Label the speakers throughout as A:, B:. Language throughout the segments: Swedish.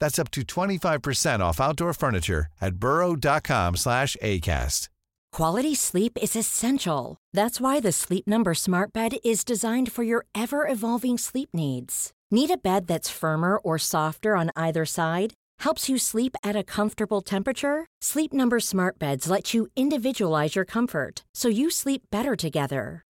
A: That's up to 25% off outdoor furniture at burrow.com/acast.
B: Quality sleep is essential. That's why the Sleep Number Smart Bed is designed for your ever evolving sleep needs. Need a bed that's firmer or softer on either side? Helps you sleep at a comfortable temperature? Sleep Number Smart Beds let you individualize your comfort so you sleep better together.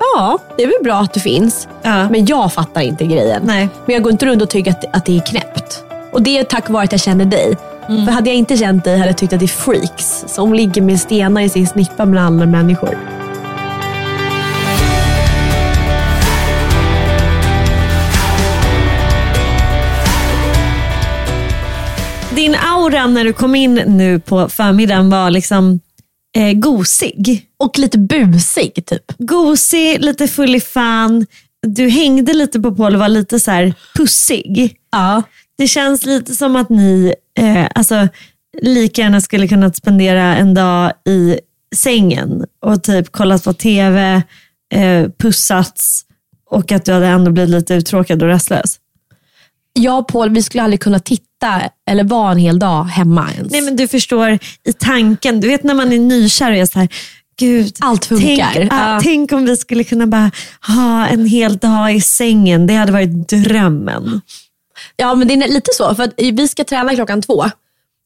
C: Ja, det är väl bra att du finns.
D: Ja.
C: Men jag fattar inte grejen.
D: Nej.
C: Men jag går inte runt och tycker att, att det är knäppt. Och det är tack vare att jag känner dig.
D: Mm.
C: För hade jag inte känt dig hade jag tyckt att det är freaks som ligger med stenar i sin snippa med andra människor.
D: Din aura när du kom in nu på förmiddagen var liksom eh, gosig.
C: Och lite busig typ.
D: Gosig, lite full i fan. Du hängde lite på Paul och var lite så här pussig.
C: Ja.
D: Det känns lite som att ni eh, alltså, lika gärna skulle kunnat spendera en dag i sängen och typ kollat på tv, eh, pussats och att du hade ändå blivit lite uttråkad och rastlös.
C: Jag och Paul, vi skulle aldrig kunna titta eller vara en hel dag hemma ens.
D: Nej men du förstår i tanken, du vet när man är nykär och är så här, gud.
C: Allt funkar.
D: Tänk, ja,
C: Ja.
D: tänk om vi skulle kunna bara ha en hel dag i sängen, det hade varit drömmen.
C: Ja, men det är lite så. För att vi ska träna klockan två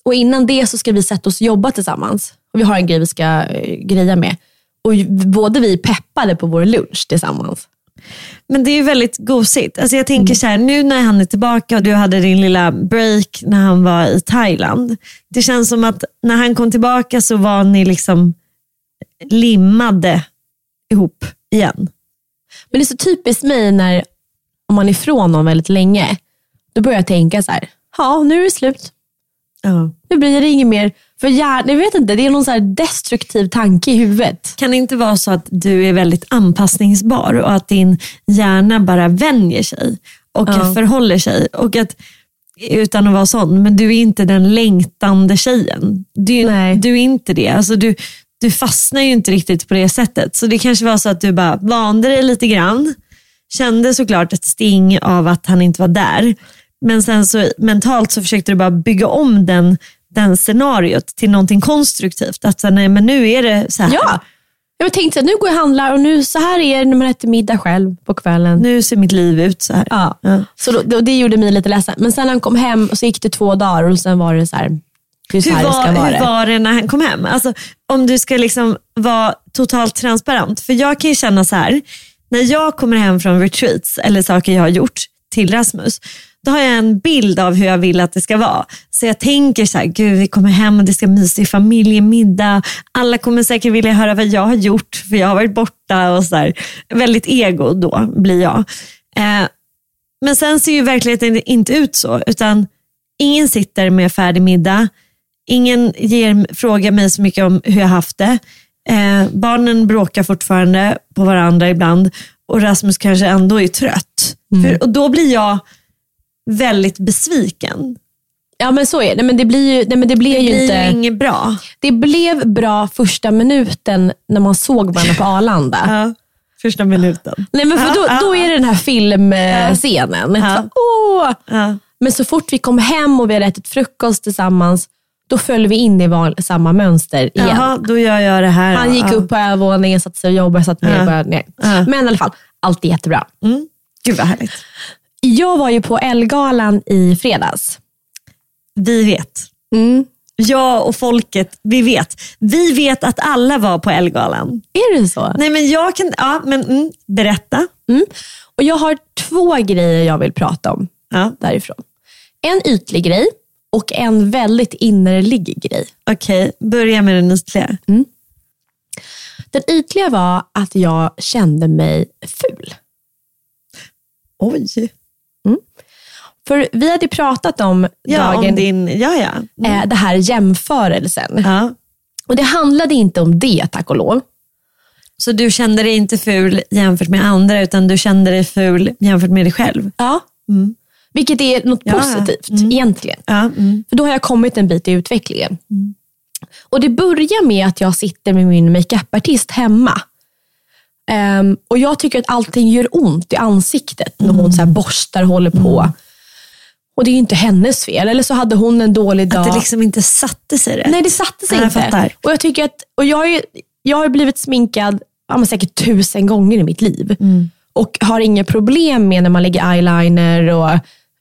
C: och innan det så ska vi sätta oss och jobba tillsammans. Och vi har en grej vi ska eh, greja med. Och ju- både vi peppade på vår lunch tillsammans.
D: Men det är ju väldigt gosigt. Alltså jag tänker så här, nu när han är tillbaka och du hade din lilla break när han var i Thailand. Det känns som att när han kom tillbaka så var ni liksom limmade ihop igen.
C: Men det är så typiskt mig när om man är ifrån någon väldigt länge, då börjar jag tänka så här, ja nu är det slut.
D: Ja.
C: Nu blir det inget mer. För hjärnan, jag vet inte, det är någon så här destruktiv tanke i huvudet.
D: Kan det inte vara så att du är väldigt anpassningsbar och att din hjärna bara vänjer sig och
C: Ja.
D: förhåller sig? Och att, utan att vara sån, men du är inte den längtande tjejen. Du,
C: Nej.
D: du är inte det. Alltså du, du fastnar ju inte riktigt på det sättet. Så det kanske var så att du bara vande dig lite grann. Kände såklart ett sting av att han inte var där. Men sen så mentalt så försökte du bara bygga om den, den scenariot till någonting konstruktivt. Att så, här, nej, men nu är det så här.
C: Ja, jag tänkte så här, nu går jag och handlar och nu, så här är det när man äter middag själv på kvällen.
D: nu ser mitt liv ut så här.
C: Ja. Så då, då, det gjorde mig lite ledsen. Men sen när han kom hem och så gick det två dagar och sen var det så här, det är så
D: Hur,
C: här det ska
D: var,
C: vara.
D: hur var det när han kom hem? Alltså, om du ska liksom vara totalt transparent. För jag kan ju känna så här, när jag kommer hem från retreats eller saker jag har gjort till Rasmus, då har jag en bild av hur jag vill att det ska vara. Så jag tänker så här, gud vi kommer hem och det ska mysa i familjemiddag. Alla kommer säkert vilja höra vad jag har gjort för jag har varit borta och så här. Väldigt ego då blir jag. Eh, Men sen ser ju verkligheten inte ut så, utan ingen sitter med färdig middag. Ingen ger, frågar mig så mycket om hur jag haft det. Eh, barnen bråkar fortfarande på varandra ibland och Rasmus kanske ändå är trött. För, och Då blir jag väldigt besviken.
C: Ja men så är det. Nej, men det, blir ju, nej, men det blev
D: Det
C: ju
D: blir
C: inte...
D: ju inget bra.
C: Det blev bra första minuten när man såg varandra på Arlanda.
D: Ja. första minuten.
C: Nej, men för
D: Ja,
C: då,
D: ja,
C: då är det den här filmscenen.
D: Ja.
C: Så, åh!
D: Ja.
C: Men så fort vi kom hem och vi hade ätit frukost tillsammans, då föll vi in i van, samma mönster igen.
D: Jaha, Ah. då gör jag det här.
C: Han
D: då.
C: gick
D: Ja.
C: upp på övervåningen, satte sig och jobbade, satt mig
D: Ja.
C: och började ner.
D: Ja.
C: Men i alla fall, allt är jättebra.
D: Mm. Gud vad härligt.
C: Jag var ju på Elgalan i fredags.
D: Vi vet.
C: Mm.
D: Jag och folket, vi vet. Vi vet att alla var på Ellegalan.
C: Är det så?
D: Nej men jag kan, ja men mm, berätta.
C: Och Jag har två grejer jag vill prata om
D: Ja,
C: därifrån. En ytlig grej och en väldigt innerlig grej.
D: Okej, börja med den ytliga.
C: Den ytliga var att jag kände mig ful.
D: Oj.
C: För vi hade pratat om
D: Ja,
C: dagen,
D: om din, ja ja. Mm.
C: eh, det här jämförelsen.
D: ja.
C: Och Det handlade inte om det, tack och lov.
D: Så du kände dig inte ful jämfört med andra utan du kände dig ful jämfört med dig själv?
C: Ja. Vilket är något
D: Mm. Ja, ja.
C: positivt egentligen.
D: Ja, mm.
C: För då har jag kommit en bit i utvecklingen. Och Det börjar med att jag sitter med min makeupartist hemma. Ehm, och Jag tycker att allting gör ont i ansiktet när
D: Mm.
C: hon så här borstar och håller på. Och Det är ju inte hennes fel. Eller så hade hon en dålig dag.
D: Att det liksom inte satte sig rätt.
C: Nej, det satte sig
D: Nej, jag
C: inte.
D: fattar.
C: Och jag, tycker att, och jag, har ju, jag har blivit sminkad ja, men säkert tusen gånger i mitt liv.
D: Mm.
C: Och har inga problem med när man lägger eyeliner. Och,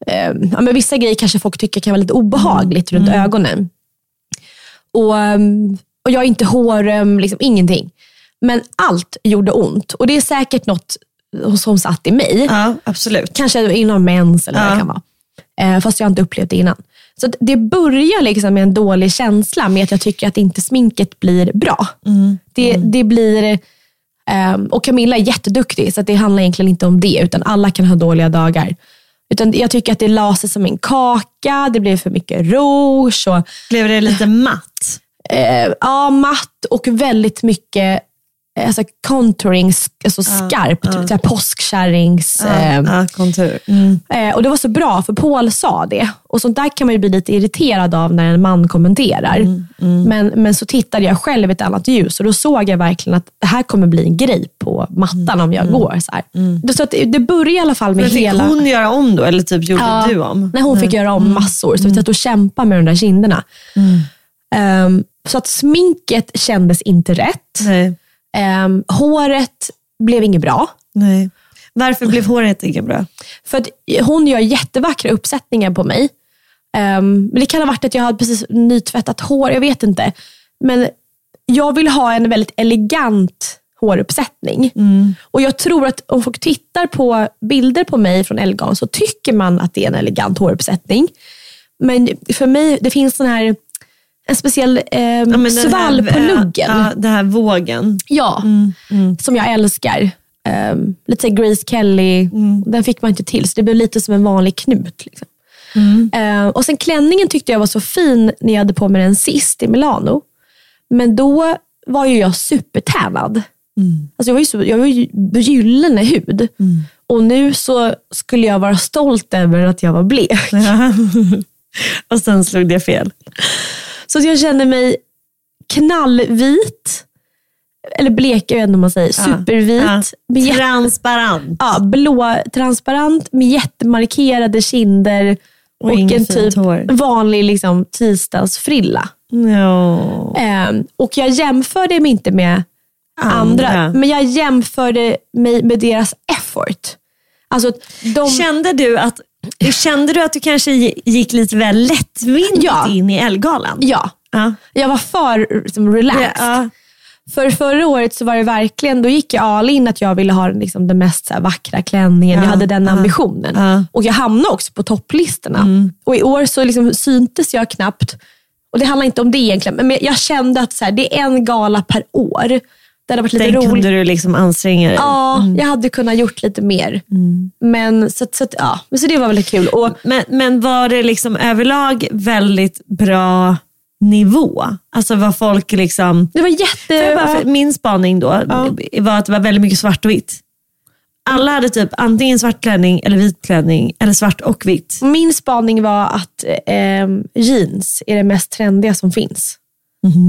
C: eh, ja, men vissa grejer kanske folk tycker kan vara lite obehagligt
D: Mm.
C: runt ögonen. Och, ehm, och jag är inte håröm, liksom, ingenting. Men allt gjorde ont. Och det är säkert något som satt i mig.
D: Ja, absolut.
C: Kanske inom mens eller vad det
D: Ja.
C: kan vara. Eh, fast jag har inte upplevt det innan. Så att det börjar liksom med en dålig känsla med att jag tycker att inte sminket blir bra.
D: Mm.
C: Det, det blir... ehm, och Camilla är jätteduktig, så att det handlar egentligen inte om det, utan alla kan ha dåliga dagar. Utan jag tycker att det la sig som en kaka, det blev för mycket rouge, och,
D: Blev det lite matt?
C: eh, ja, matt och väldigt mycket eh, alltså contouring, sk- alltså skarpt. Så här påskkärrings...
D: Ja,
C: ehm,
D: ja, kontur. Mm.
C: Eh, och Det var så bra, för Paul sa det. Och Sånt där kan man ju bli lite irriterad av när en man kommenterar.
D: Mm,
C: Men, men så tittade jag själv i ett annat ljus och då såg jag verkligen att det här kommer bli en grej på mattan om jag går. Så, här. Det- så att det, det började i alla fall med
D: Mm, Men fick
C: hela...
D: hon Mm. göra om då eller typ gjorde du om?
C: Nej, hon fick göra om massor, så vi satt och kämpade med de där kinderna.
D: Mm.
C: Ehm, så att sminket kändes inte rätt.
D: Nej.
C: Ehm, håret blev inget bra.
D: Nej. Varför blev håret inte bra?
C: För att hon gör jättevackra uppsättningar på mig. Ehm, men Det kan ha varit att jag hade precis nytvättat hår, jag vet inte. Men jag vill ha en väldigt elegant håruppsättning.
D: Mm.
C: Och Jag tror att om folk tittar på bilder på mig från Elgan så tycker man att det är en elegant håruppsättning. Men för mig, det finns sån här, en speciell ehm,
D: Ja, men den
C: svall
D: här,
C: på
D: eh,
C: luggen.
D: Ja, den här vågen.
C: Ja,
D: Mm,
C: som jag älskar. Ehm, lite så här Grace Kelly,
D: Mm.
C: den fick man inte till, så det blev lite som en vanlig knut. Liksom.
D: Mm.
C: Ehm, och sen klänningen tyckte jag var så fin när jag hade på mig den sist i Milano. Men då var ju jag supertänad.
D: Mm.
C: Alltså jag var ju, så, jag var ju gyllene hud. Och nu så skulle jag vara stolt över att jag var blek.
D: Och sen slog det fel.
C: Så att jag känner mig knallvit, eller blek, jag vet inte om man säger, supervit.
D: Ja.
C: Med jätte-
D: Transparent.
C: ja, blå, transparent med jättemarkerade kinder och,
D: Och inget
C: en
D: fint
C: typ
D: hår.
C: vanlig liksom, tisdagsfrilla.
D: Ja.
C: Ehm, och jag jämförde mig inte med andra,
D: Andra.
C: men jag jämförde mig med deras effort. Alltså, att de,
D: Kände du att Kände du att du kanske gi- gick lite väl lättvindigt
C: Ja.
D: in i Ellegalan?
C: ja,
D: Ja.
C: jag var för liksom, relaxed.
D: Ja.
C: För förra året så var det verkligen, då gick jag all in att jag ville ha liksom den mest så här vackra klänningen. jag
D: Ja,
C: hade den
D: ja,
C: ambitionen.
D: ja. Mm.
C: Och jag hamnade också på topplistorna. Och i år så liksom syntes jag knappt. Och det handlar inte om det egentligen, men jag kände att så här, det är en gala per år. Det hade varit lite
D: Den
C: roligt.
D: kunde du Mm. liksom anstränga dig
C: Ja, jag hade kunnat gjort lite mer.
D: Mm.
C: Men, så, att- så, att, ja. Men så det var väldigt kul. Och,
D: Men, men var det liksom överlag väldigt bra nivå? Alltså var folk liksom...
C: det var jätte...
D: För jag bara, för min spaning då var att det var väldigt mycket svart och vitt. Alla hade typ antingen svart klänning eller vit klänning eller svart och vitt.
C: Min spaning var att ehm, jeans är det mest trendiga som finns.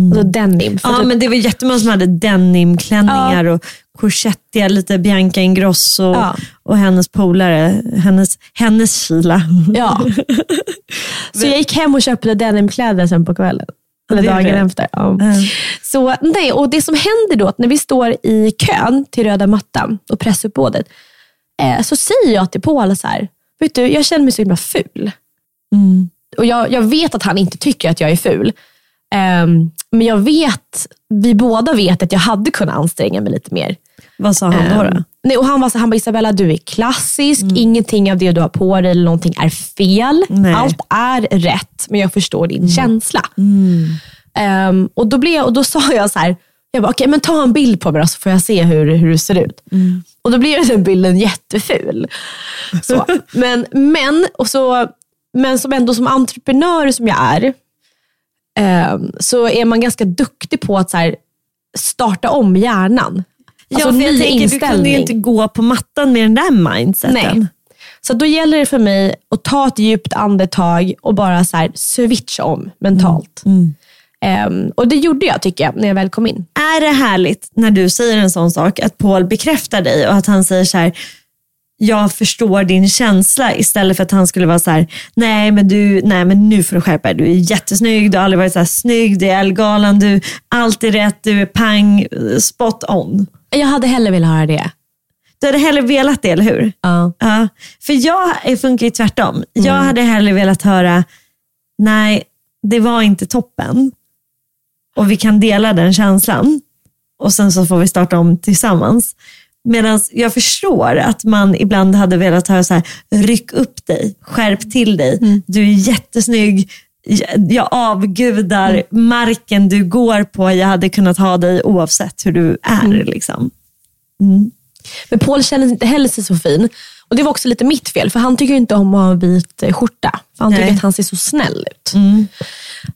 C: Alltså denim. För
D: Mm. Ja,
C: typ-
D: men det var jättemånga som hade denimklänningar och Courgettiga, lite Bianca Ingrosso
C: Ja.
D: och hennes polare, hennes, hennes kila.
C: Ja. Så jag gick hem och köpte denimkläder sen på kvällen. Eller
D: Det är
C: dagen
D: det.
C: efter. Ja. Så, nej, och det som händer då, att när vi står i kön till röda mattan och pressuppbådet, eh, så säger jag till Paul så här, vet du, jag känner mig så himla ful.
D: Mm.
C: Och jag, jag vet att han inte tycker att jag är ful. Ehm, men jag vet, vi båda vet att jag hade kunnat anstränga mig lite mer.
D: Vad sa han då?
C: Ehm,
D: då?
C: Nej, och han var så, han bara, Isabella du är klassisk, ingenting av det du har på dig eller någonting är fel.
D: Nej.
C: Allt är rätt, men jag förstår din känsla. Ehm, och, då blev jag, och då sa jag så här, jag bara, okej men ta en bild på mig då, så får jag se hur, hur du ser ut. Och då blev den bilden jätteful. Så. Men, men, och så, men som ändå som entreprenör som jag är, ehm, så är man ganska duktig på att så här, starta om hjärnan. Alltså
D: för
C: ny
D: du kunde ju
C: inställning.
D: inte gå på mattan med den där mindseten.
C: Nej. Så då gäller det för mig att ta ett djupt andetag och bara så här switcha om mentalt. Ehm, och det gjorde jag tycker jag när jag väl kom in.
D: Är det härligt när du säger en sån sak, att Paul bekräftar dig och att han säger så här, jag förstår din känsla istället för att han skulle vara så här, nej men, du, nej men nu får du skärpa dig, du är jättesnygg, du har aldrig varit så här snygg, du är elgalan, du, allt är rätt, du är pang, eh, spot on.
C: Jag hade hellre velat höra det.
D: Du hade hellre velat det, eller hur?
C: Ja.
D: Ja, för jag är- funkar ju tvärtom. Jag hade hellre velat höra, nej, det var inte toppen. Och vi kan dela den känslan. Och sen så får vi starta om tillsammans. Medan jag förstår att man ibland hade velat höra så här, ryck upp dig, skärp till dig, du är jättesnygg, jag- jag avgudar marken du går på, jag hade kunnat ha dig oavsett hur du är. Liksom.
C: Men Paul kände inte heller sig så fin. Och Det var också lite mitt fel, för han tycker ju inte om att ha en vit eh, skjorta. För han tycker
D: Nej.
C: att han ser så snäll ut.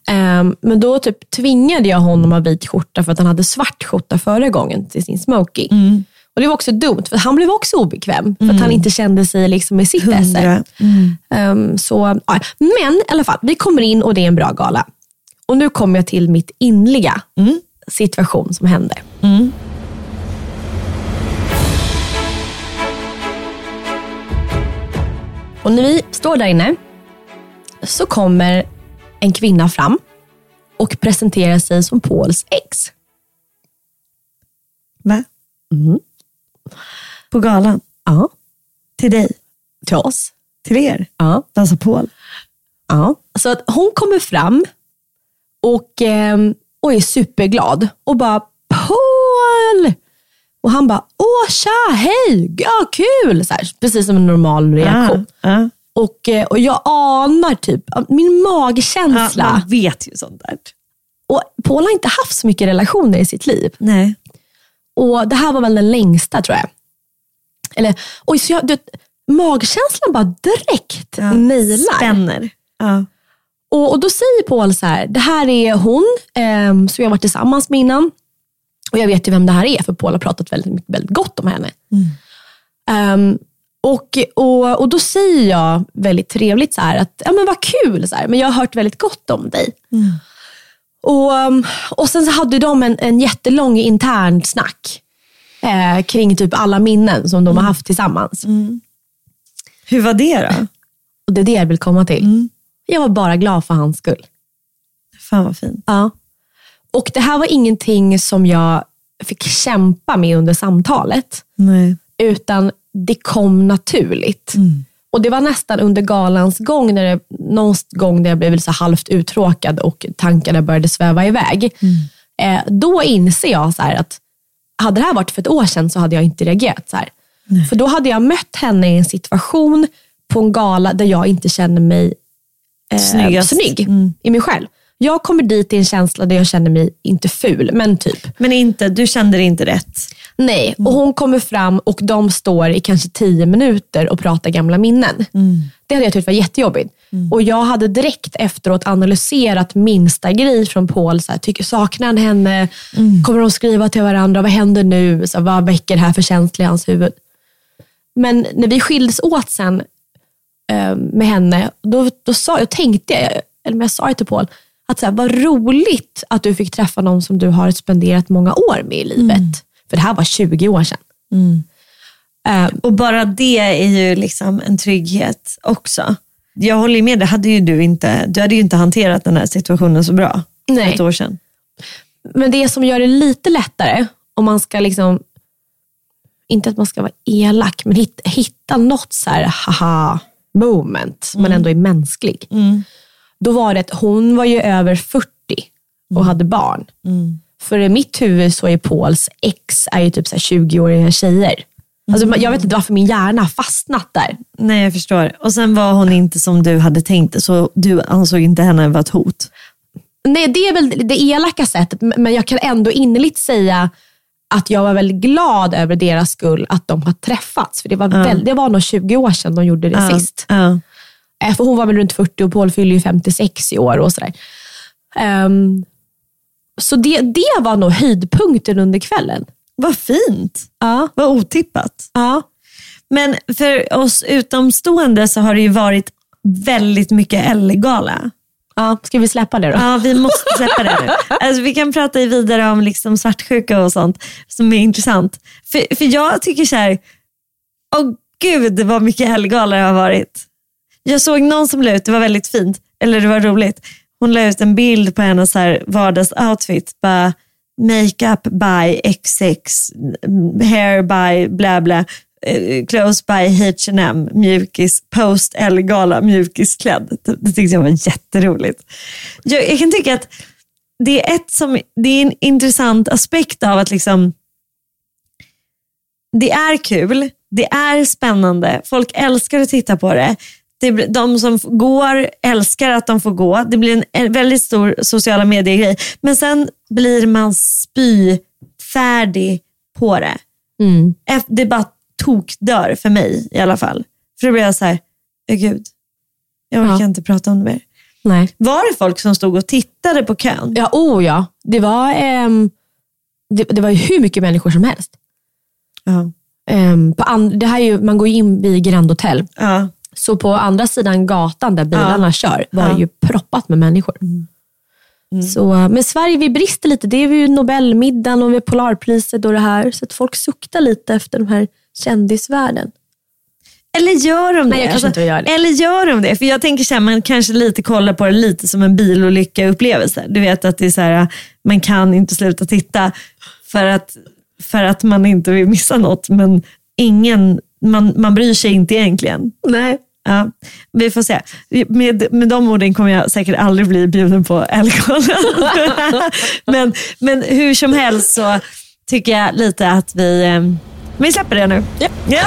C: Ehm, men då typ tvingade jag honom att ha vit skjorta för att han hade svart skjorta förra gången till sin smoking. Och Det var också dumt, för han blev också obekväm. För att han inte kände sig liksom i sitt esse.
D: Hundra. Mm.
C: Ehm, så, ja. Men i alla fall, vi kommer in och det är en bra gala. Och nu kommer jag till mitt inliga situation som hände. Mm. Och när vi står där inne så kommer en kvinna fram och presenterar sig som Pauls ex.
D: Va? Mm. På galan?
C: Ja,
D: Till dig?
C: till oss.
D: Till er?
C: Ja.
D: Dansa Paul?
C: Ja. Så att hon kommer fram och, ehm, och är superglad och bara Paul! Och han bara, åh tja, hej, ja, kul! Så här, precis som en normal reaktion.
D: Ja,
C: Och, eh, och jag anar typ, min
D: ja.
C: magkänsla.
D: man vet ju sånt där.
C: Och Paul har inte haft så mycket relationer i sitt liv.
D: Nej.
C: Och Det här var väl den längsta tror jag. Eller, oj, så jag, du, vet, magkänslan bara direkt
D: Ja.
C: nailar.
D: Spänner. Ja.
C: Och, och då säger Paul så här, det här är hon ehm, som jag varit tillsammans med innan. Och jag vet ju vem det här är, för Paul har pratat väldigt, mycket- väldigt gott om henne. Ehm, och, och, och då säger jag väldigt trevligt så här att, ja men vad kul, så här, men jag har hört väldigt gott om dig. Och, ehm, och sen så hade de en, en jättelång intern snack eh, kring typ alla minnen som de har haft tillsammans.
D: Hur var det då?
C: Och det är det jag vill komma till. Jag var bara glad för hans skull.
D: Fan vad fint.
C: Ja. Och det här var ingenting som jag fick kämpa med under samtalet,
D: Nej.
C: utan det kom naturligt.
D: Mm.
C: Och Det var nästan under galans gång, när det, någon gång när jag blev så halvt uttråkad och tankarna började sväva iväg.
D: Mm.
C: Eh, då inser jag så här att hade det här varit för ett år sedan så hade jag inte reagerat så här. För då hade jag mött henne i en situation på en gala där jag inte känner mig eh,
D: Snyggast.
C: snygg
D: Mm.
C: i mig själv. Jag kommer dit i en känsla där jag känner mig, inte ful, men typ.
D: Men inte, du kände det inte rätt?
C: Nej, och hon kommer fram och de står i kanske tio minuter och pratar gamla minnen. Det hade jag tyckt var jättejobbigt. Och jag hade direkt efteråt analyserat minsta grej från Paul. Så här, tycker, saknar han henne? Kommer de skriva till varandra? Vad händer nu? Så här, vad väcker det här för känslor i hans huvud? Men när vi skildes åt sen eh, med henne, då, då sa jag, tänkte jag, eller men jag sa det till Paul, att så här, vad roligt att du fick träffa någon som du har spenderat många år med i livet. För det här var 20 år sedan. Eh,
D: Och bara det är ju liksom en trygghet också. Jag håller ju med, det hade ju du inte. Du hade ju inte hanterat den här situationen så bra för
C: Nej.
D: ett år sedan.
C: Men det som gör det lite lättare, om man ska liksom, inte att man ska vara elak, men hit, hitta något så här haha moment, men ändå är mänsklig. Då var det att hon var ju över 40 och hade barn. För i mitt huvud så är Pauls ex är ju typ så här 20-åriga tjejer. Alltså, man- Jag vet inte varför min hjärna har fastnat där.
D: Nej, jag förstår. Och sen var hon inte som du hade tänkt det, så du ansåg inte henne vara ett hot.
C: Nej, det är väl det elaka sättet, m- men jag kan ändå innerligt säga att jag var väldigt glad över deras skull att de har träffats. För det var, väl, det var nog 20 år sedan de gjorde det sist.
D: Ja.
C: Eh, För hon var väl runt 40 och Paul fyller ju 56 i år och sådär. Ehm, så det, det var nog höjdpunkten under kvällen.
D: Vad fint.
C: Ja.
D: Vad otippat.
C: Ja.
D: Men för oss utomstående så har det ju varit väldigt mycket Ellegala.
C: Ja, ska vi släppa det då?
D: Ja, vi måste släppa det nu. Alltså, vi kan prata vidare om liksom svartsjuka och sånt som är intressant. För, för jag tycker så här, åh gud vad mycket helggalor det har varit. Jag såg någon som la ut, det var väldigt fint, eller det var roligt. Hon la ut en bild på hennes så här vardagsoutfit. Bara, makeup by XX, hair by bla bla, eh, clothes by H&M, mjukis, post L-gala, mjukisklädd. Det tyckte jag var jätteroligt. Jag, jag kan tycka att det är, ett som, det är en intressant aspekt av att liksom, det är kul, det är spännande, folk älskar att titta på det. det blir- de som f- går älskar att de får gå. Det blir en- en väldigt stor sociala medier-grej. Men sen blir man spyfärdig på det.
C: Mm.
D: Eff- Det bara tokdör för mig i alla fall. För då blir jag så här, "Åh, gud, jag orkar
C: Ja.
D: inte prata om det mer.
C: Nej.
D: Var det folk som stod och tittade på kön?
C: Ja, oh ja. Det var, ehm, det, det var ju hur mycket människor som helst.
D: Ja.
C: Ehm, på and, det här är ju, man går ju in vid Grand Hotel.
D: ja.
C: Så på andra sidan gatan där bilarna kör var
D: Ja. Mm.
C: det ju proppat med människor. Så, eh, men Sverige, vi brister lite. Det är ju Nobelmiddagen och vi har Polarpriset och det här. Så att folk suktar lite efter de här kändisvärlden.
D: Eller gör de det?
C: Nej, jag kanske inte gör det.
D: Eller gör de det? För jag tänker så här, man kanske lite kollar på det lite som en bilolycka-upplevelse. Du vet att det är så här, man kan inte sluta titta för att, för att man inte vill missa något. Men ingen, man, man bryr sig inte egentligen.
C: Nej.
D: Ja, vi får se. Med, med de orden kommer jag säkert aldrig bli bjuden på alkohol. men, men hur som helst så tycker jag lite att vi, eh, vi släpper det nu. Ja.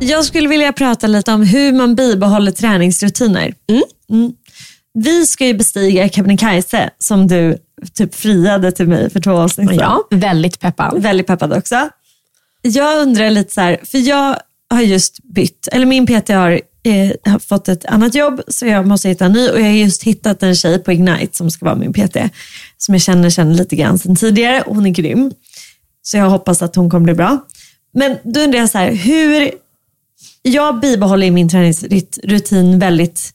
D: Jag skulle vilja prata lite om hur man bibehåller träningsrutiner. Mm. Vi ska ju bestiga Kebnekaise som du typ friade till mig för två avsnitt sedan.
C: Ja, väldigt peppad.
D: Väldigt peppad också. Jag undrar lite så här, för jag har just bytt, eller min PT har, eh, har fått ett annat jobb så jag måste hitta en ny och jag har just hittat en tjej på Ignite som ska vara min PT. Som jag känner, känner lite grann sedan tidigare och hon är grym. Så jag hoppas att hon kommer bli bra. Men då undrar jag så här, hur... Jag bibehåller ju min träningsrutin väldigt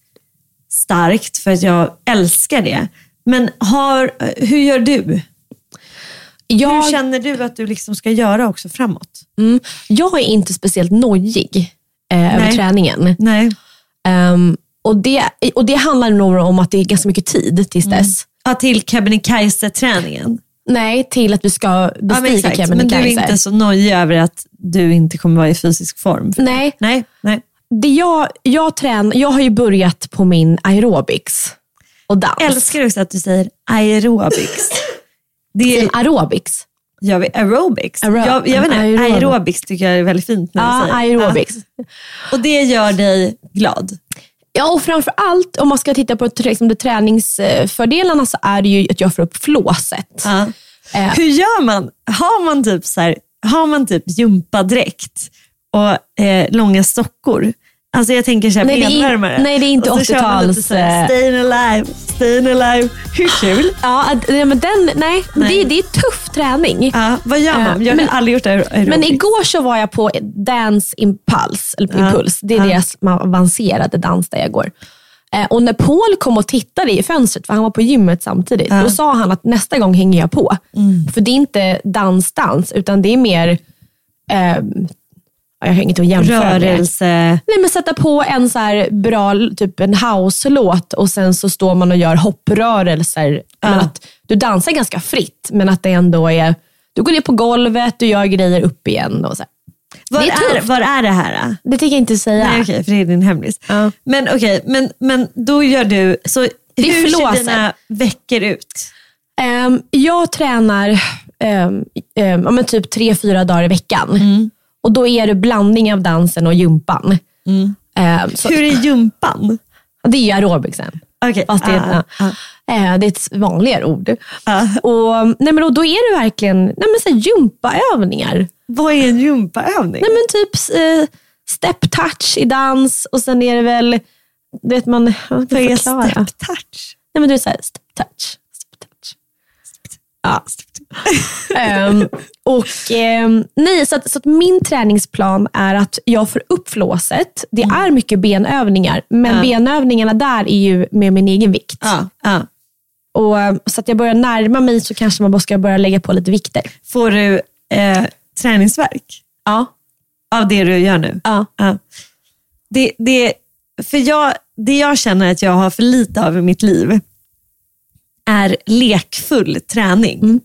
D: starkt för att jag älskar det. Men har, hur gör du?
C: Jag,
D: Hur känner du att du liksom ska göra också framåt?
C: mm, jag är inte speciellt nojig eh, över
D: Nej.
C: träningen.
D: Nej.
C: Ehm, och, det, och det handlar nog om att det är ganska mycket tid tills
D: Mm.
C: dess.
D: Ja, till Kebnekaise-träningen.
C: Nej, till att vi ska
D: Ja, men,
C: bestiga
D: exakt. men du är
C: Kebnekaise.
D: inte så nojig över att du inte kommer vara i fysisk form? för-
C: Nej,
D: Nej, nej.
C: det jag, jag, trän, jag har ju börjat på min aerobics och dans.
D: Jag älskar också att du säger aerobics. Det är,
C: Aerobics.
D: gör vi aerobics.
C: Aero-
D: jag, jag vet inte,
C: aerobic.
D: aerobics tycker jag är väldigt fint när du
C: Ja,
D: säger.
C: aerobics.
D: ah. Ja. Och det gör dig glad?
C: Ja, och framför allt om man ska titta på trä- liksom, det träningsfördelarna så är det ju att jag får upp flåset.
D: Ja.
C: Eh,
D: Ah. Hur gör man? Har man typ, så här, har man typ gympadräkt och eh, långa sockor? Alltså jag tänker såhär
C: Nej, det är in-
D: benvärmare.
C: nej, det är inte
D: Och så kör man lite
C: 80-tals,
D: så här,
C: eh,
D: Stayin' alive, stayin' alive. Hur kul?
C: Ja, att- nej, men den, nej,
D: Nej. Ah.
C: Det, det är tuff träning.
D: Ja, vad gör man? Jag har aldrig gjort aer- aerobics.
C: Men igår så var jag på Dance Impulse, eller
D: Ja.
C: Impuls. det är
D: Ja.
C: deras avancerade dans där jag går. Eh, Och när Paul kom och tittade i fönstret, för han var på gymmet samtidigt,
D: Ja. Mm.
C: då sa han att nästa gång hänger jag på. För det är inte dansdans, utan det är mer, eh, jag har inget att jämföra med.
D: Rörelse.
C: Nej, men sätta på en så här bra typ en house-låt och sen så står man och gör hopprörelser. Men att du dansar ganska fritt, men att det ändå är... Du går ner på golvet, du gör grejer upp igen. Och så här.
D: Var
C: Det är
D: är,
C: tufft.
D: var är det här? Då?
C: Det tänker jag inte säga.
D: Nej, okej, för det är din hemlis.
C: Ja.
D: Men okej, men, men då gör du... Så
C: är
D: hur ser
C: flåset.
D: dina veckor ut?
C: Ehm, jag tränar ehm, ehm, ja, men typ tre, fyra dagar i veckan. Och Då är det blandning av dansen och gympan. Ehm, så,
D: Hur är gympan?
C: Det är ju aerobicsen.
D: Okej,
C: Fast Alltså, det, är,
D: ah, ah.
C: eh, det är ett vanligare ord. Och, nej men, och då är det verkligen nej men, så här, gympaövningar.
D: Vad är en gympaövning?
C: Nej men typ eh, step touch i dans och sen är det väl, du vet man, jag
D: Vad
C: kan
D: är
C: förklara.
D: step touch?
C: Nej men du är såhär, step touch. Step touch. Ja. Ehm, och, ehm, nej, så att, så att min träningsplan är att jag får upp flåset. Det är mycket benövningar, men
D: Mm. Ja.
C: benövningarna där är ju med min egen vikt.
D: Ja, ja.
C: Och, eh, så att jag börjar närma mig så kanske man bara ska börja lägga på lite vikter.
D: Får du eh, träningsverk
C: Ja.
D: av det du gör nu?
C: Ja.
D: Ja. Det, det, för jag, det jag känner att jag har för lite av i mitt liv är lekfull träning.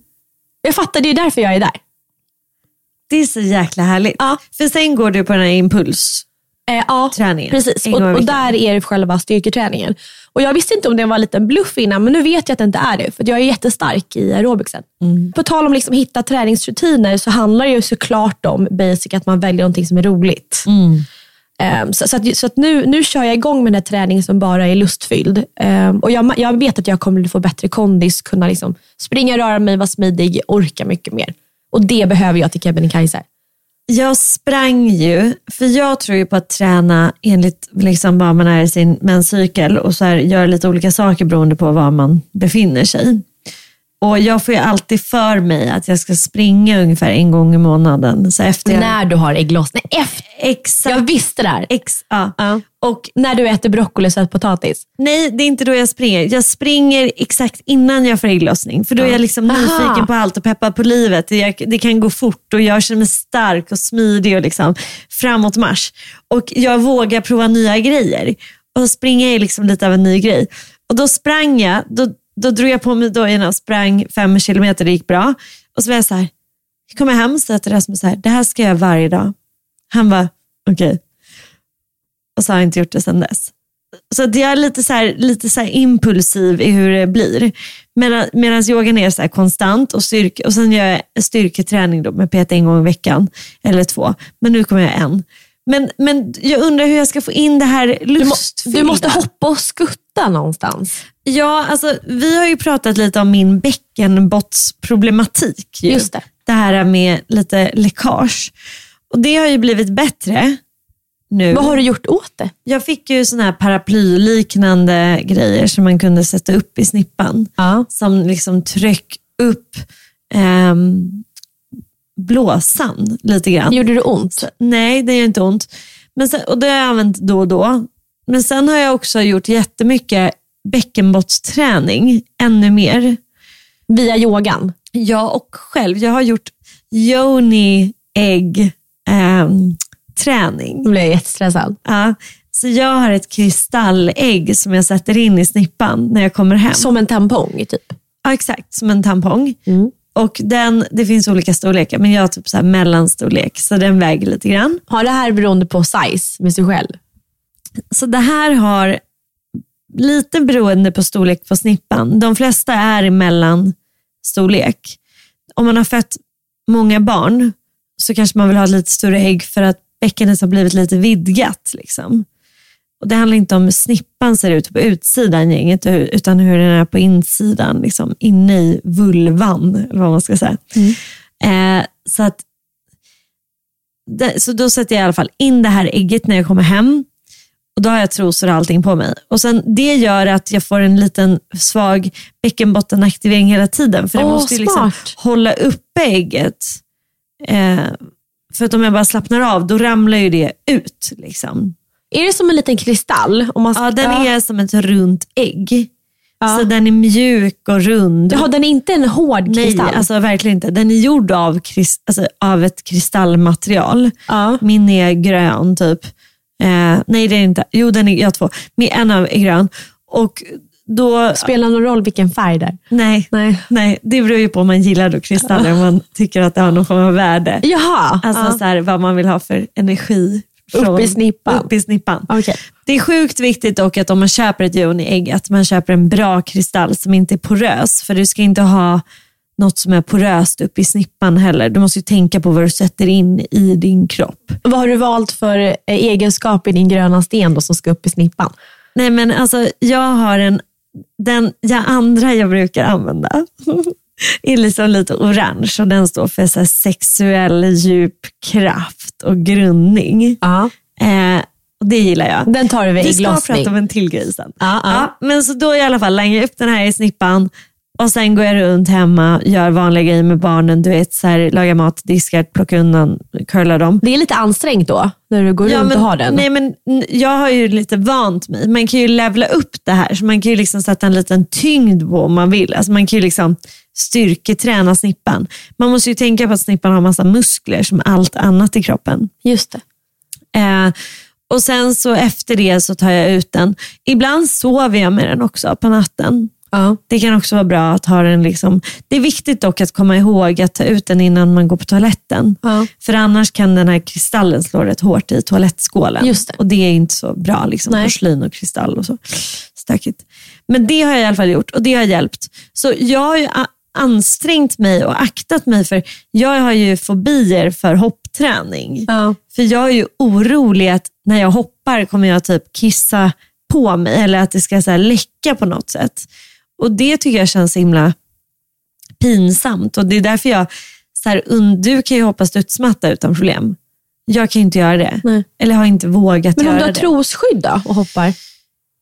C: Jag fattar, det är ju därför jag är där.
D: Det är så jäkla härligt.
C: Ja.
D: För sen går du på den här impuls.
C: Eh, ja,
D: Träningen.
C: precis.
D: En gång i
C: Och, och
D: veckan.
C: där är det själva styrketräningen. Och jag visste inte om det var en liten bluff innan, men nu vet jag att det inte är det. För att jag är jättestark i aerobicsen. På tal om liksom hitta träningsrutiner så handlar det ju såklart om basic, att man väljer någonting som är roligt. Ehm, Så, så, att, så att nu, nu kör jag igång med den här träningen som bara är lustfylld. Ehm, och jag, jag vet att jag kommer få bättre kondis, kunna liksom springa, röra mig, vara smidig, orka mycket mer. Och det behöver jag till Kebnekaise.
D: Jag sprang ju, för jag tror ju på att träna enligt liksom var man är i sin menscykel och så här, gör lite olika saker beroende på var man befinner sig. Och jag får ju alltid för mig att jag ska springa ungefär en gång i månaden. Så efter jag,
C: När du har ägglossning. Nej, efter.
D: Exakt.
C: Jag visste det här.
D: Ex, ja.
C: Ja. Och när du äter broccoli och sötpotatis.
D: Nej, det är inte då jag springer. Jag springer exakt innan jag får ägglossning. För då är jag liksom
C: Aha.
D: nyfiken på allt och peppad på livet. Det, jag, det kan gå fort och jag känner mig stark och smidig och liksom framåt mars. Och jag vågar prova nya grejer. Och springa är liksom lite av en ny grej. Och då sprang jag, då, då drog jag på mig dojorna och sprang fem kilometer, det gick bra. Och så var jag så här, jag kommer hem och säger till Rasmus så här, det här ska jag göra varje dag. Han var okej. Och så har jag inte gjort det sedan dess. Så att jag är lite, så här, lite så här impulsiv i hur det blir. Medan yogan är så här konstant och, styrke, och sen gör jag styrketräning då med PT en gång i veckan. Eller två. Men nu kommer jag en. Men, men jag undrar hur jag ska få in det här
C: Du, må,
D: lustfyllda.
C: du måste hoppa och skutta någonstans.
D: Ja, alltså, vi har ju pratat lite om min bäckenbottsproblematik. Ju.
C: Just det.
D: det här med lite läckage. Och det har ju blivit bättre, nu.
C: Vad har du gjort åt det?
D: Jag fick ju såna här paraplyliknande grejer som man kunde sätta upp i snippan.
C: Ja.
D: Som liksom tryck upp ehm, blåsan lite grann.
C: Gjorde det ont?
D: Nej, det gör inte ont. Men sen, och det har jag använt då och då. Men sen har jag också gjort jättemycket bäckenbottsträning, ännu mer.
C: Via yogan?
D: Jag och själv, jag har gjort yoni ägg ehm, träning.
C: Då blev jag jättestressad.
D: Ja, så jag har ett kristallägg som jag sätter in i snippan när jag kommer hem.
C: Som en tampong typ?
D: Ja, exakt, som en tampong.
C: Mm.
D: Och den, Det finns olika storlekar, men jag har typ så här mellanstorlek, så den väger lite grann.
C: Har det här beroende på size med sig själv?
D: Så det här har lite beroende på storlek på snippan. De flesta är i mellanstorlek. Om man har fött många barn så kanske man vill ha ett lite större ägg för att bäckenet har blivit lite vidgat. Liksom. Och det handlar inte om hur snippan ser ut på utsidan gänget utan hur den är på insidan, liksom, inne i vulvan eller vad man ska säga.
C: Mm.
D: Eh, så, att, det, så då sätter jag i alla fall in det här ägget när jag kommer hem. Och Då har jag trosor och allting på mig. Och sen, Det gör att jag får en liten svag bäckenbottenaktivering hela tiden. För det
C: Åh,
D: måste ju liksom
C: smart.
D: hålla uppe ägget. Eh, för att om jag bara slappnar av, då ramlar ju det ut. Liksom.
C: Är det som en liten kristall? Om man
D: Ja, den är som ett runt ägg.
C: Alltså, Ja.
D: Så den är mjuk och rund.
C: Jaha, den är inte en hård
D: Nej,
C: kristall?
D: alltså verkligen inte. Den är gjord av, krist, alltså, av ett kristallmaterial.
C: Ja.
D: Min är grön typ. Eh, nej, det är inte. Jo, den är, jag har två. Min, en av är grön. Och då,
C: Spelar någon roll vilken färg där?
D: nej,
C: Nej.
D: nej, det beror ju på om man gillar då kristaller, om man tycker att det har någon form av värde.
C: Jaha.
D: Alltså så här, vad man vill ha för energi.
C: Upp i snippan.
D: Upp i snippan.
C: ja. Okej.
D: Det är sjukt viktigt dock att om man köper ett yoni-ägg att man köper en bra kristall som inte är porös. För du ska inte ha något som är poröst upp i snippan heller. Du måste ju tänka på vad du sätter in i din kropp.
C: Vad har du valt för eh, egenskap i din gröna sten då, som ska upp i snippan?
D: Nej men alltså jag har en, den jag andra jag brukar använda är liksom lite orange och den står för så här sexuell djup kraft och grundning.
C: Ja.
D: Eh, och det gillar jag.
C: Den tar du vid
D: Vi ska
C: ägglossning.
D: prata om en till grej sen.
C: Ja, ja.
D: Ja, men så då i alla fall langar jag upp den här i snippan och sen går jag runt hemma, gör vanliga grejer med barnen. Du vet, så här, lagar mat, diskar, plockar undan, curlar dem.
C: Det är lite ansträngt då, när du går runt
D: men,
C: och har den.
D: Nej, men n- jag har ju lite vant mig. Man kan ju levla upp det här. Så man kan ju liksom sätta en liten tyngd på om man vill. Alltså man kan ju liksom styrketräna snippan. Man måste ju tänka på att snippan har massa muskler som allt annat i kroppen.
C: Just det.
D: Eh, och sen så efter det så tar jag ut den. Ibland sover jag med den också på natten.
C: Ja.
D: Det kan också vara bra att ha den liksom. Det är viktigt dock att komma ihåg att ta ut den innan man går på toaletten.
C: Ja.
D: För annars kan den här kristallen slå rätt hårt i toalettskålen.
C: Just det.
D: Och det är inte så bra. Liksom,
C: Nej.
D: porslin och kristall och så. Stökigt. Men det har jag i alla fall gjort och det har hjälpt. Så jag har ju a- ansträngt mig och aktat mig för jag har ju fobier för hoppträning.
C: Ja.
D: För jag är ju orolig att när jag hoppar kommer jag typ kissa på mig eller att det ska så här läcka på något sätt. Och det tycker jag känns så himla pinsamt och det är därför jag, så här, und- du kan ju hoppa studsmatta utan problem. Jag kan ju inte göra det.
C: Nej.
D: Eller har inte vågat
C: Men om
D: göra
C: du har
D: det.
C: trosskydd då och hoppar?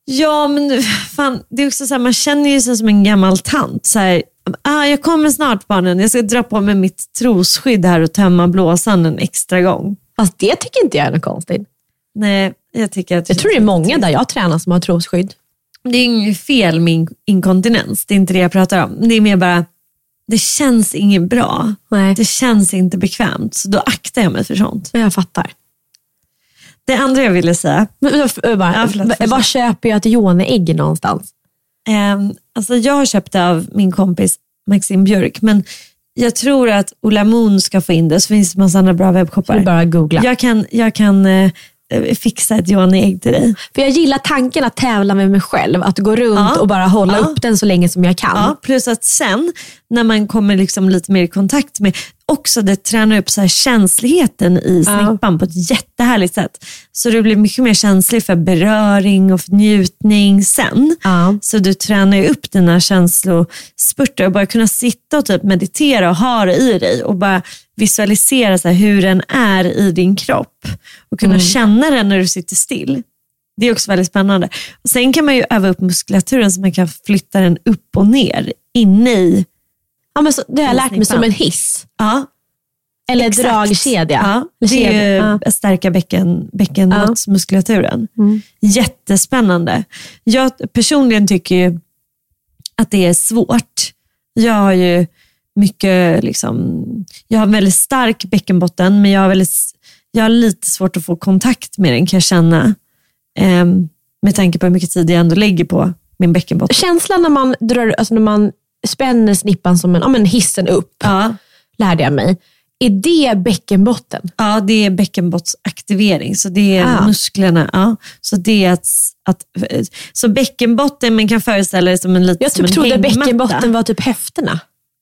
D: Ja, men nu- fan, det är också så här, man känner ju sig som en gammal tant. Så här, ah, jag kommer snart barnen, jag ska dra på mig mitt trosskydd här och tömma blåsan en extra gång.
C: Fast det tycker inte jag är något konstigt.
D: Nej, jag tycker att
C: Jag tror det är många där jag tränar som har trosskydd.
D: Det är inget fel med in- inkontinens, det är inte det jag pratar om. Det är mer bara, det känns inget bra.
C: Nej.
D: Det känns inte bekvämt, så då aktar jag mig för sånt.
C: Men jag fattar.
D: Det andra jag ville säga,
C: Men, men, men, bara,
D: Ja, förlåt,
C: v-
D: fortsätt.
C: var köper jag ett joneägg någonstans?
D: ehm, alltså jag har köpt det av min kompis Maxim Björk, men jag tror att Ola Moon ska få in det, så finns det massa andra bra
C: Det är
D: webbshoppar.
C: bara att googla.
D: Jag kan, jag kan eh, eh, fixa ett Johnny-ägg till dig.
C: För jag gillar tanken att tävla med mig själv. Att gå runt
D: Ja.
C: och bara hålla
D: Ja.
C: upp den så länge som jag kan.
D: Ja, plus att sen när man kommer liksom lite mer i kontakt med, också det tränar upp så här känsligheten i snippan på ett jättehärligt sätt. Så du blir mycket mer känslig för beröring och för njutning sen.
C: Ja.
D: Så du tränar ju upp dina känslospurter och bara kunna sitta och typ meditera och ha det i dig och bara visualisera så här hur den är i din kropp och kunna känna den när du sitter still. Det är också väldigt spännande. Och sen kan man ju öva upp muskulaturen så man kan flytta den upp och ner inne i.
C: Ja, men så, det har jag lärt mig som en hiss.
D: Ja,
C: Eller
D: Exakt.
C: dragkedja.
D: ja
C: Eller
D: det är ju
C: kedja. Ja.
D: att stärka bäcken, bäckenbottensmuskulaturen.
C: Mm.
D: Jättespännande. Jag personligen tycker ju att det är svårt. Jag har ju mycket, liksom, jag har en väldigt stark bäckenbotten, men jag har, väldigt, jag har lite svårt att få kontakt med den kan jag känna. Ehm, med tanke på hur mycket tid jag ändå lägger på min bäckenbotten.
C: Känslan när man, drar, alltså när man spänner snippan som en, ja, men hissen upp,
D: Ja,
C: lärde jag mig. Är det bäckenbotten?
D: ja det är bäckenbottsaktivering, så det är
C: Ah.
D: musklerna. Ja. Så det är att, att, så bäckenbotten, man kan föreställa det som en liten
C: Jag
D: som
C: typ
D: en
C: trodde
D: hängmatta.
C: bäckenbotten var typ höfterna,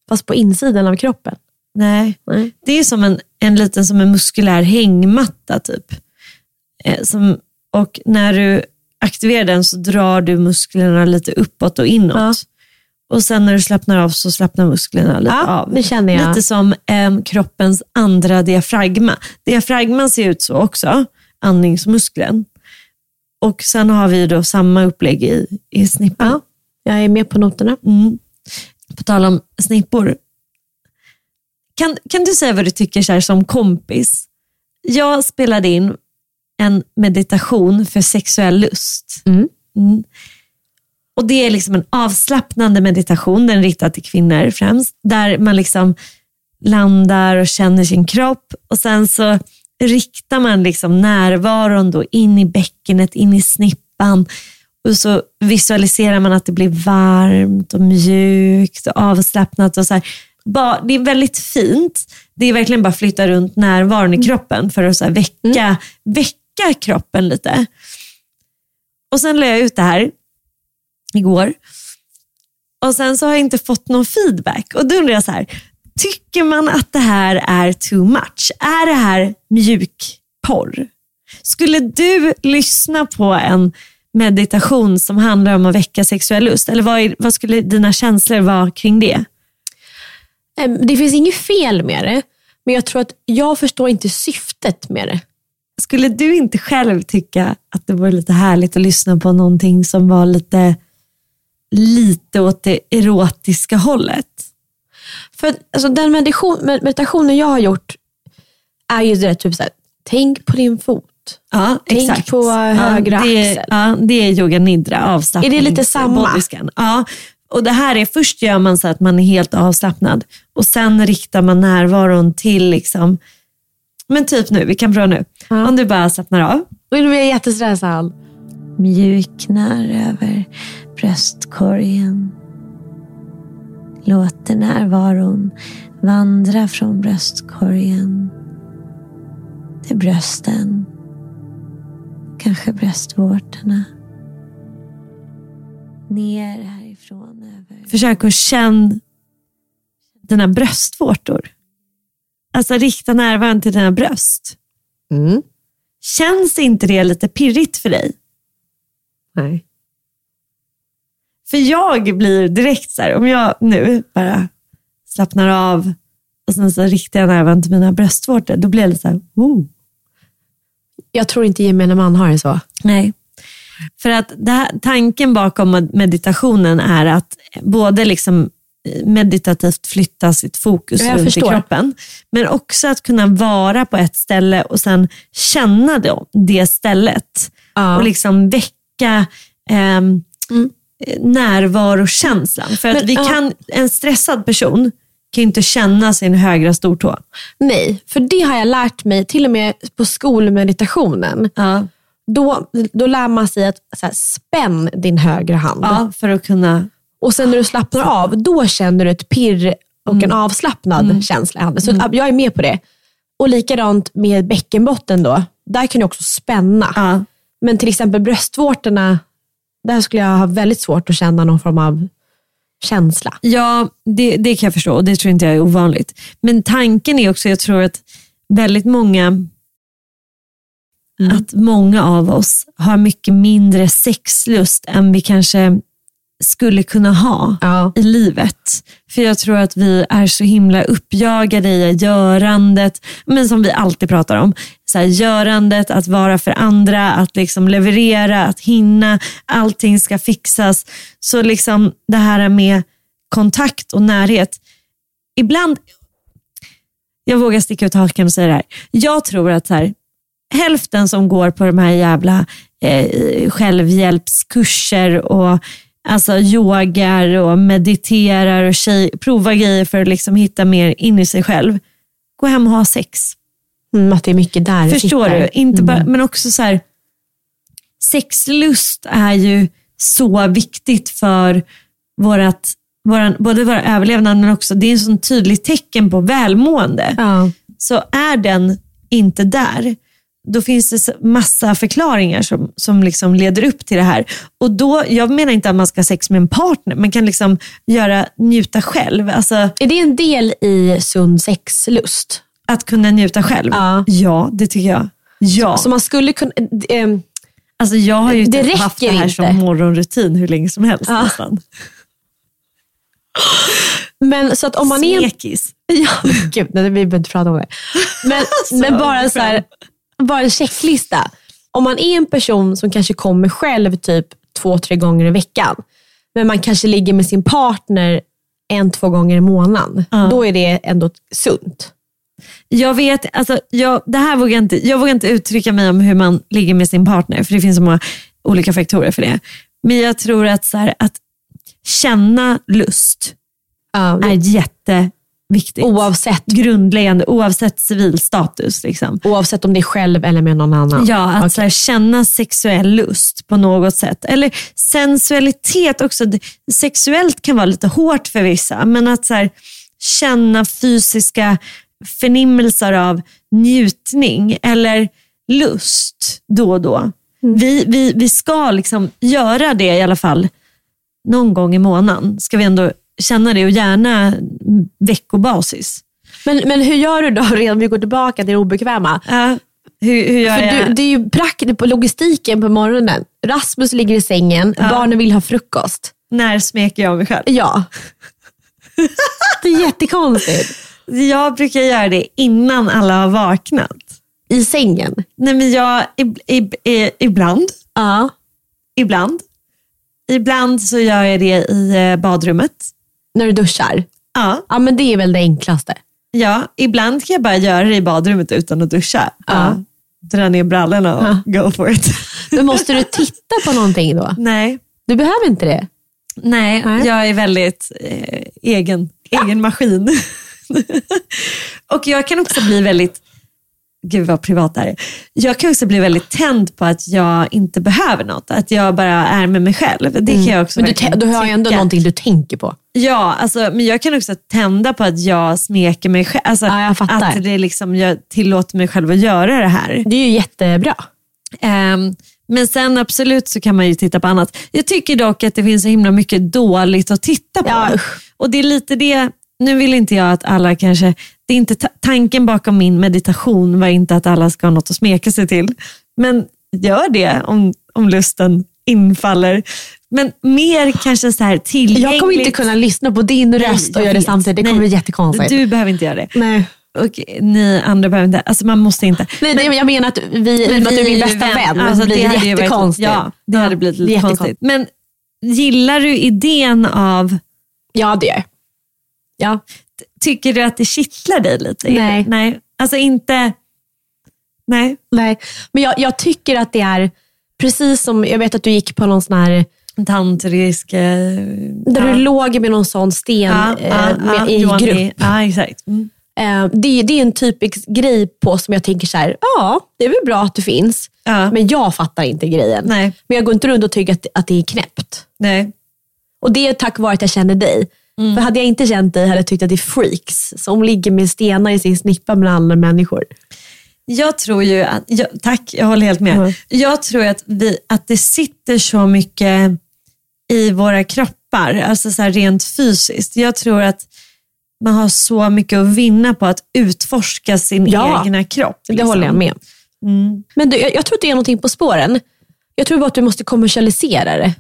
C: fast på insidan av kroppen.
D: Nej.
C: Nej.
D: Det är som en, en liten som en muskulär hängmatta typ. Eh, som, och när du aktiverar den så drar du musklerna lite uppåt och inåt.
C: Ja.
D: Och sen när du slappnar av så slappnar musklerna lite
C: Ja,
D: av.
C: det känner jag.
D: Lite som eh, kroppens andra diafragma. Diafragman ser ut så också, andningsmuskeln. Och sen har vi då samma upplägg i, i snippan.
C: Ja. Jag är med på noterna.
D: Mm. På tal om snippor. Kan, kan du säga vad du tycker så här, som kompis? Jag spelade in en meditation för sexuell lust.
C: Mm.
D: Mm. Och Det är liksom en avslappnande meditation, den är riktad till kvinnor främst, där man liksom landar och känner sin kropp och sen så riktar man liksom närvaron då in i bäckenet, in i snippan och så visualiserar man att det blir varmt och mjukt och avslappnat. Och så här. Bara, det är väldigt fint. Det är verkligen bara flytta runt närvaron i kroppen för att så här väcka, väcka kroppen lite. Och sen la jag ut det här igår. Och sen så har jag inte fått någon feedback. Och då undrar jag så här, tycker man att det här är too much? Är det här mjuk porr? Skulle du lyssna på en meditation som handlar om att väcka sexuell lust? Eller vad, är, vad skulle dina känslor vara kring det?
C: Em, Det finns inget fel med det, men jag tror att jag förstår inte syftet med det.
D: Skulle du inte själv tycka att det vore lite härligt att lyssna på någonting som var lite, lite åt det erotiska hållet?
C: För att, alltså, den meditation, med- meditationen jag har gjort är ju det där, typ så här, tänk på din fot.
D: Ja,
C: Tänk
D: exakt.
C: på eh, högra
D: ja, det,
C: axeln.
D: Ja, det är yoga nidra, avslappning.
C: Är det lite samma?
D: bodyscan. Ja, och det här är, först gör man så att man är helt avslappnad och sen riktar man närvaron till liksom, men typ nu, vi kan prova nu.
C: Ja.
D: Om du bara slappnar av.
C: Och nu blir jag jättestressad.
D: Mjuknar över bröstkorgen. Låter närvaron vandra från bröstkorgen till brösten. Kanske bröstvårtorna. Ner härifrån. Över. Försök att känna dina bröstvårtor. Alltså rikta närvaron till dina bröst.
C: Mm.
D: Känns inte det lite pirrigt för dig?
C: Nej.
D: För jag blir direkt så här, om jag nu bara slappnar av och sen så riktar jag närvaron till mina bröstvårtor, då blir jag lite så här, oh.
C: Jag tror inte gemene man har det så.
D: Nej. För att det här, tanken bakom med- meditationen är att både liksom meditativt flytta sitt fokus
C: Ja, jag
D: runt
C: förstår.
D: i kroppen, men också att kunna vara på ett ställe och sen känna det, det stället.
C: Ja. Mm.
D: Och liksom väcka ehm, närvarokänslan. För att
C: Men,
D: vi
C: ja.
D: kan, en stressad person kan ju inte känna sin högra stortå.
C: Nej, för det har jag lärt mig till och med på skolmeditationen.
D: Ja.
C: Då, då lär man sig att så här, spänn din högra hand.
D: Ja, för att kunna
C: Och sen när du slappnar av, då känner du ett pirr och
D: Mm.
C: en avslappnad känsla i handen. Så jag är med på det. Och likadant med bäckenbotten då. Där kan du också spänna.
D: ja,
C: Men till exempel bröstvårtorna, där skulle jag ha väldigt svårt att känna någon form av känsla.
D: Ja, det, det kan jag förstå och det tror inte jag är ovanligt. Men tanken är också, jag tror att väldigt många, att många av oss har mycket mindre sexlust än vi kanske skulle kunna ha
C: Ja.
D: i livet. För jag tror att vi är så himla uppjagade i görandet, men som vi alltid pratar om. Så här, görandet, att vara för andra, att liksom leverera, att hinna, allting ska fixas. Så liksom det här med kontakt och närhet. Ibland, jag vågar sticka ut hakan och säga det här. Jag tror att så här, hälften som går på de här jävla eh, självhjälpskurser och alltså yogar och mediterar och tjej, provar grejer för att liksom hitta mer in i sig själv. Gå hem och ha sex.
C: Mm, att det är mycket där det
D: Förstår
C: sitter.
D: du? Inte bara, Men också så här, sexlust är ju så viktigt för vårat, våran, både vår överlevnad men också, det är en sån tydligt tecken på välmående
C: Mm. Ja.
D: så är den inte där, då finns det så- massa förklaringar som, som liksom leder upp till det här. Och då, Jag menar inte att man ska ha sex med en partner, man kan liksom göra, njuta själv. Alltså
C: Är det en del i sund sexlust?
D: att kunna njuta själv.
C: Ja.
D: det tycker jag. Ja.
C: Så man skulle kunna... ehm,
D: alltså jag har ju
C: Det
D: typ haft det
C: räcker
D: här
C: inte.
D: som morgonrutin hur länge som helst
C: Ja.
D: nästan.
C: men så att om man är en
D: Smekis.
C: Ja, men gud, nej, vi behöver inte prata om det. Men, men bara, så här, bara en checklista. Om man är en person som kanske kommer själv typ två, tre gånger i veckan, men man kanske ligger med sin partner en, två gånger i månaden. Då är det ändå sunt.
D: Jag vet, alltså, jag, det här vågar jag, inte, jag vågar inte uttrycka mig om hur man ligger med sin partner, för det finns så många olika faktorer för det. Men jag tror att, så här, att känna lust
C: Ja,
D: är jätteviktigt.
C: Eh, oavsett,
D: Grundläggande, oavsett civil status. Liksom.
C: oavsett om det är själv eller med någon annan.
D: Ja, att så här, känna sexuell lust på något sätt. Eller sensualitet också. Det- Sexuellt kan vara lite hårt för vissa, men att så här, känna fysiska förnimmelser av njutning eller lust då och då. Vi, vi, vi ska liksom göra det i alla fall någon gång i månaden. Ska vi ändå känna det och gärna veckobasis.
C: Men, men hur gör du då, redan vi går tillbaka till det obekväma?
D: Ja, hur, hur gör
C: För
D: jag?
C: du, det är ju prakt, på logistiken på morgonen. Rasmus ligger i sängen, barnen vill ha frukost.
D: När smeker jag mig själv?
C: Ja. Det är jättekonstigt.
D: Jag brukar göra det innan alla har vaknat.
C: I sängen.
D: Nej, men jag, ib, ib, i- ibland,
C: Ja.
D: ibland. Ibland så gör jag det i eh, badrummet.
C: När du duschar.
D: Ja,
C: Ja, men det är väl det enklaste.
D: ja. Ibland kan jag bara göra det i badrummet utan att duscha.
C: Ja.
D: Dra ner brallorna och go for it.
C: Men måste du titta på någonting då?
D: Nej,
C: Du behöver inte det.
D: Nej,
C: Nej.
D: jag är väldigt eh, egen, egen maskin. och jag kan också bli väldigt, gud vad privat det här är. Jag kan också bli väldigt tänd på att jag inte behöver något. Att jag bara är med mig själv. Det kan jag också
C: Mm. Men du,
D: verkligen
C: te- du har ju ändå
D: tycka.
C: någonting du tänker på.
D: Ja, alltså, men jag kan också tända på att jag smeker mig själv. Alltså,
C: Ja, jag fattar.
D: Att det liksom, jag tillåter mig själv att göra det här.
C: Det är ju jättebra.
D: Ehm, men sen absolut så kan man ju titta på annat. Jag tycker dock att det finns så himla mycket dåligt att titta på.
C: Ja, usch.
D: Och det är lite det, nu vill inte jag att alla kanske, det är inte ta- tanken bakom min meditation var inte att alla ska ha något att smeka sig till. Men gör det om, om lusten infaller. Men mer kanske så här tillgängligt.
C: Jag kommer inte kunna lyssna på din röst och
D: jag
C: göra det
D: vet.
C: samtidigt. Det kommer
D: Nej.
C: bli jättekonstigt.
D: Du behöver inte göra det.
C: Nej.
D: Och ni andra behöver inte, alltså man måste inte.
C: Nej, det, jag menar att vi, men
D: Men
C: att du är
D: vi
C: min
D: är ju
C: bästa vän,
D: Alltså,
C: så blir det,
D: hade ju varit-
C: jättekonstigt.
D: ja, det hade blivit
C: det är
D: lite konstigt.
C: jättekonstigt.
D: Men gillar du idén av,
C: Ja, det gör jag. Ja.
D: tycker du att det kittlar dig lite?
C: Nej.
D: nej. Alltså inte, nej.
C: Nej, men jag, jag tycker att det är precis som, jag vet att du gick på någon sån här,
D: Tantrisk... eh,
C: där
D: ja.
C: du låg med någon sån sten
D: Ja,
C: eh,
D: ja,
C: med,
D: ja,
C: i
D: Johan,
C: grupp.
D: det- Ja, exakt. Mm.
C: Eh, det, det är en typisk grej på som jag tänker så här, ja det är väl bra att det finns,
D: Ja.
C: men jag fattar inte grejen.
D: Nej.
C: Men jag går inte runt och tycker att, att det är knäppt.
D: Nej.
C: Och det är tack vare att jag känner dig.
D: Mm.
C: För hade jag inte känt dig hade jag tyckt att det är freaks som ligger med stenar i sin snippa med andra människor.
D: Jag tror ju att, ja, tack, jag håller helt med.
C: Mm.
D: Jag tror att, vi, att det sitter så mycket i våra kroppar tappar, alltså så här rent fysiskt. Jag tror att man har så mycket att vinna på att utforska sin
C: Ja,
D: egna kropp. liksom.
C: Det håller jag med.
D: Mm.
C: Men du, jag, jag tror att det är någonting på spåren. Jag tror bara att du måste kommersialisera det.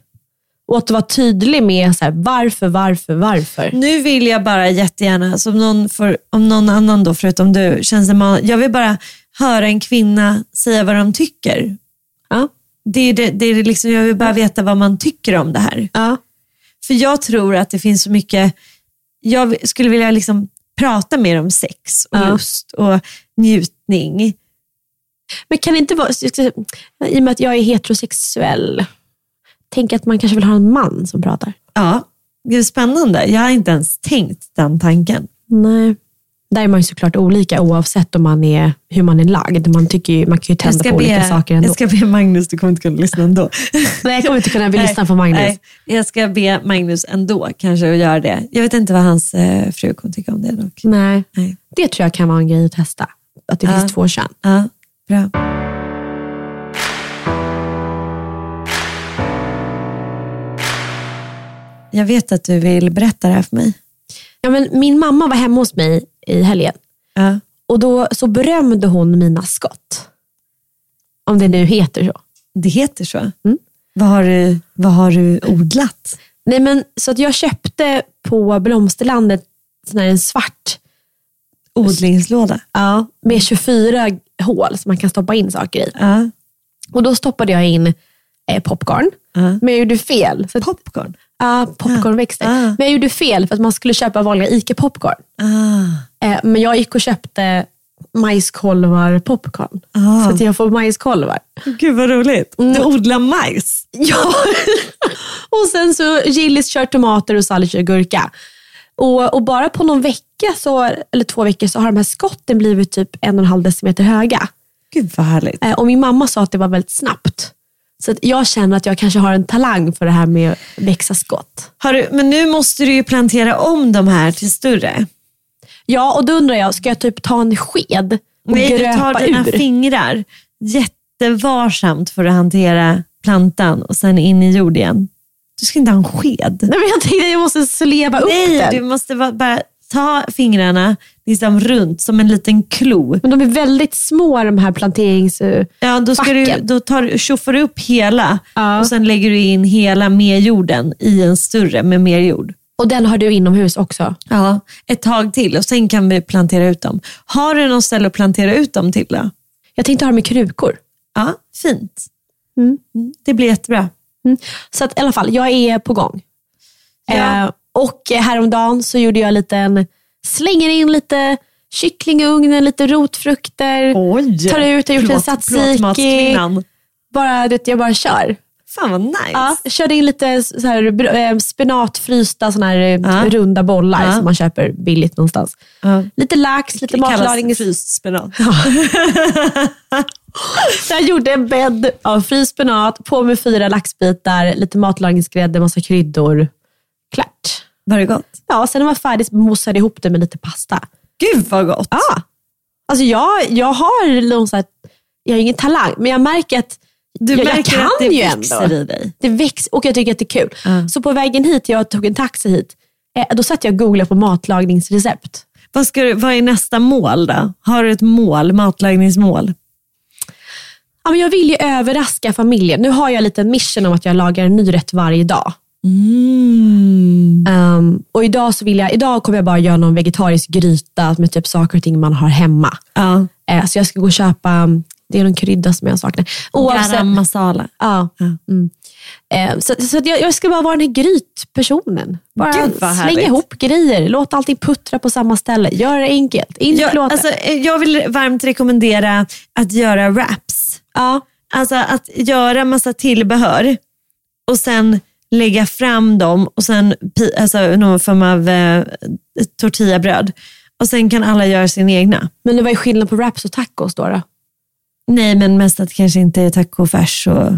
C: Och att vara tydlig med så här, varför, varför, varför.
D: Nu vill jag bara jättegärna, som någon får, om någon annan då förutom du, känns det man, jag vill bara höra en kvinna säga vad de tycker.
C: Ja.
D: Det är det, det är det liksom, jag vill bara veta vad man tycker om det här.
C: Ja.
D: För jag tror att det finns så mycket, jag skulle vilja liksom prata mer om sex och
C: Ja.
D: lust och njutning.
C: Men kan det inte vara, i och med att jag är heterosexuell, tänk att man kanske vill ha en man som pratar.
D: Ja, det är spännande. Jag har inte ens tänkt den tanken.
C: Nej. Där är man ju såklart olika oavsett om man är, hur man är lagd. Man, tycker ju, man kan ju
D: Jag
C: tända
D: ska,
C: på olika
D: be,
C: saker ändå.
D: jag ska be Magnus, du kommer inte kunna lyssna ändå.
C: Nej, jag kommer inte kunna lyssna på Magnus.
D: Nej, jag ska be Magnus ändå kanske att göra det. Jag vet inte vad hans eh, fru kommer tycka om det dock.
C: Nej.
D: Nej.
C: Det tror jag kan vara en grej att testa. Att det finns två kön.
D: Ja, bra. Jag vet att du vill berätta det här för mig.
C: Ja, men min mamma var hemma hos mig i helgen
D: Ja.
C: och då så berömde hon mina skott. Om det nu heter så.
D: Det heter så. Vad, har du, vad har du odlat?
C: Nej, men, så att jag köpte på Blomsterlandet sån här en svart
D: Odlingslåda?
C: ja. med 24 hål som man kan stoppa in saker i.
D: Ja.
C: Och Då stoppade jag in eh, popcorn,
D: Ja.
C: men jag gjorde fel. Så att,
D: Popcorn?
C: ja, popcornväxter.
D: Ja.
C: Men jag gjorde fel för att man skulle köpa vanliga ICA-popcorn.
D: Ah.
C: Eh, Men jag gick och köpte majskolvar popcorn.
D: Ah.
C: Så att jag får majskolvar.
D: Gud vad roligt. Du odlar majs?
C: Ja. och sen så Gillis kör tomater och Sally kör gurka. Och, och bara på någon vecka, så, eller två veckor, så har de här skotten blivit typ en och en halv decimeter höga.
D: Gud vad härligt.
C: Eh, Och min mamma sa att det var väldigt snabbt. Så att jag känner att jag kanske har en talang för det här med att växa skott.
D: Har du, men nu måste du ju plantera om de här till större.
C: Ja, och då undrar jag, ska jag typ ta en sked och
D: Nej, du
C: gröpa
D: tar dina
C: ur?
D: fingrar. Jättevarsamt får du hantera plantan och sen in i jord igen. Du ska inte ha en sked.
C: Nej, men jag tänkte att jag måste sleva upp
D: Nej,
C: den.
D: du måste va- bara ta fingrarna liksom runt som en liten klo.
C: Men de är väldigt små de här planterings...
D: Ja, då ska du,
C: Facken.
D: då tar, du- tjoffar du upp hela
C: Ja.
D: och sen lägger du in hela med jorden i en större med mer jord.
C: Och den har du inomhus också?
D: Ja, ett tag till och sen kan vi plantera ut dem. Har du någon ställe att plantera ut dem till då?
C: Jag tänkte ha dem i krukor.
D: Ja, fint. Mm, Det blir jättebra.
C: Mm. Så att, i alla fall, jag är på gång.
D: Ja.
C: Eh, och häromdagen så gjorde jag en liten, slänger in lite kyckling i ugnen, lite rotfrukter.
D: Oj!
C: Tar ut, har gjort en
D: Plåt-
C: tzatziki.
D: plåtmatskvinnan.
C: Bara, du vet, jag bara kör.
D: Fan vad nice.
C: Ja, körde in lite så här, br- eh, spenatfrysta såna här, eh,
D: Ja.
C: runda bollar
D: Ja.
C: som man köper billigt någonstans.
D: Ja.
C: Lite lax, lite
D: Det kallas
C: matlagning.
D: fryst spenat.
C: Så jag gjorde en bädd av fryst spenat, på med fyra laxbitar, lite matlagningsgrädde, massa kryddor. Klart.
D: Var det gott?
C: Ja, sen när man var färdig så mosade jag ihop det med lite pasta.
D: Gud vad gott.
C: Ja. Alltså jag, jag har någon så här, jag har ingen talang, men jag märker att
D: Du
C: jag, jag
D: märker
C: kan
D: att det
C: ju
D: växer
C: ändå.
D: i dig.
C: Det växer och jag tycker att det är kul.
D: Ja.
C: Så på vägen hit, jag tog en taxi hit, eh, då satt jag och googlade på matlagningsrecept.
D: Vad, ska du, vad är nästa mål då? Har du ett mål, matlagningsmål?
C: Ja, men jag vill ju överraska familjen. Nu har jag en liten mission om att jag lagar en ny rätt varje dag.
D: Mm.
C: Ehm, och idag, så vill jag, idag kommer jag bara göra någon vegetarisk gryta med typ saker och ting man har hemma.
D: Ja.
C: Eh, så jag ska gå och köpa, mm, det är någon krydda som jag saknar. Oavsett,
D: Garam masala.
C: ja, mm. Eh, så så att jag, jag ska bara vara den här grytpersonen. Bara
D: Gud, vad härligt.
C: slänga ihop grejer, låt allting puttra på samma ställe. Gör det enkelt, in i
D: Jag,
C: plåten.
D: alltså, eh, jag vill varmt rekommendera att göra wraps.
C: ja.
D: Alltså att göra massa tillbehör och sen lägga fram dem och sen pi- alltså, någon form av eh, tortillabröd. Och sen kan alla göra sin egna.
C: Men det var ju skillnad på wraps och tacos då. då.
D: Nej, men mest att det kanske inte är tacofärs. Och...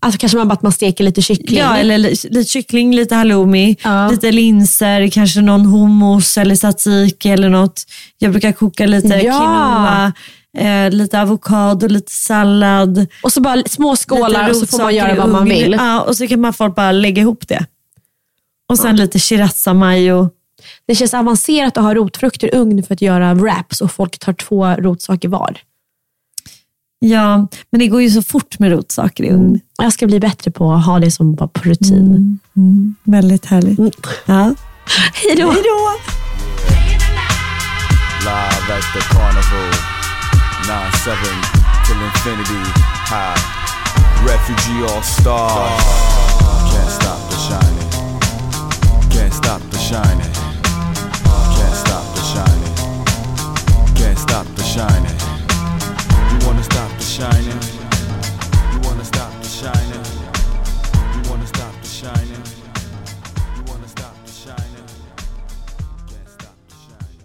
C: Alltså kanske man bara att man steker lite kyckling.
D: Ja, eller li- lite kyckling, lite halloumi,
C: Ja.
D: lite linser, kanske någon hummus eller tzatziki eller något. Jag brukar koka lite
C: Ja.
D: quinoa, eh, lite avokado, lite sallad.
C: Och så bara små skålar
D: lite
C: och så får man
D: rotsaker
C: göra
D: i
C: vad man
D: ugn.
C: vill.
D: Ja, och så kan man folk bara lägga ihop det. Och sen lite shirazamayo.
C: Det känns avancerat att ha rotfrukter i ugn för att göra wraps och folk tar två rotsaker var.
D: Ja, men det går ju så fort med rotsaker i ugn.
C: Och Jag ska bli bättre på att ha det som bara på rutin.
D: Mm. Väldigt härligt.
C: Mm.
D: Ja.
C: Hej då!
E: Live at the carnival. 9-7 till infinity. High. Refugee all stars. Can't stop the shining. Can't stop the shining. Can't stop the shining. Can't stop the shining. You wanna stop the shining? You wanna stop the shining? You wanna stop the shining? You wanna stop the shining? Can't stop the shining.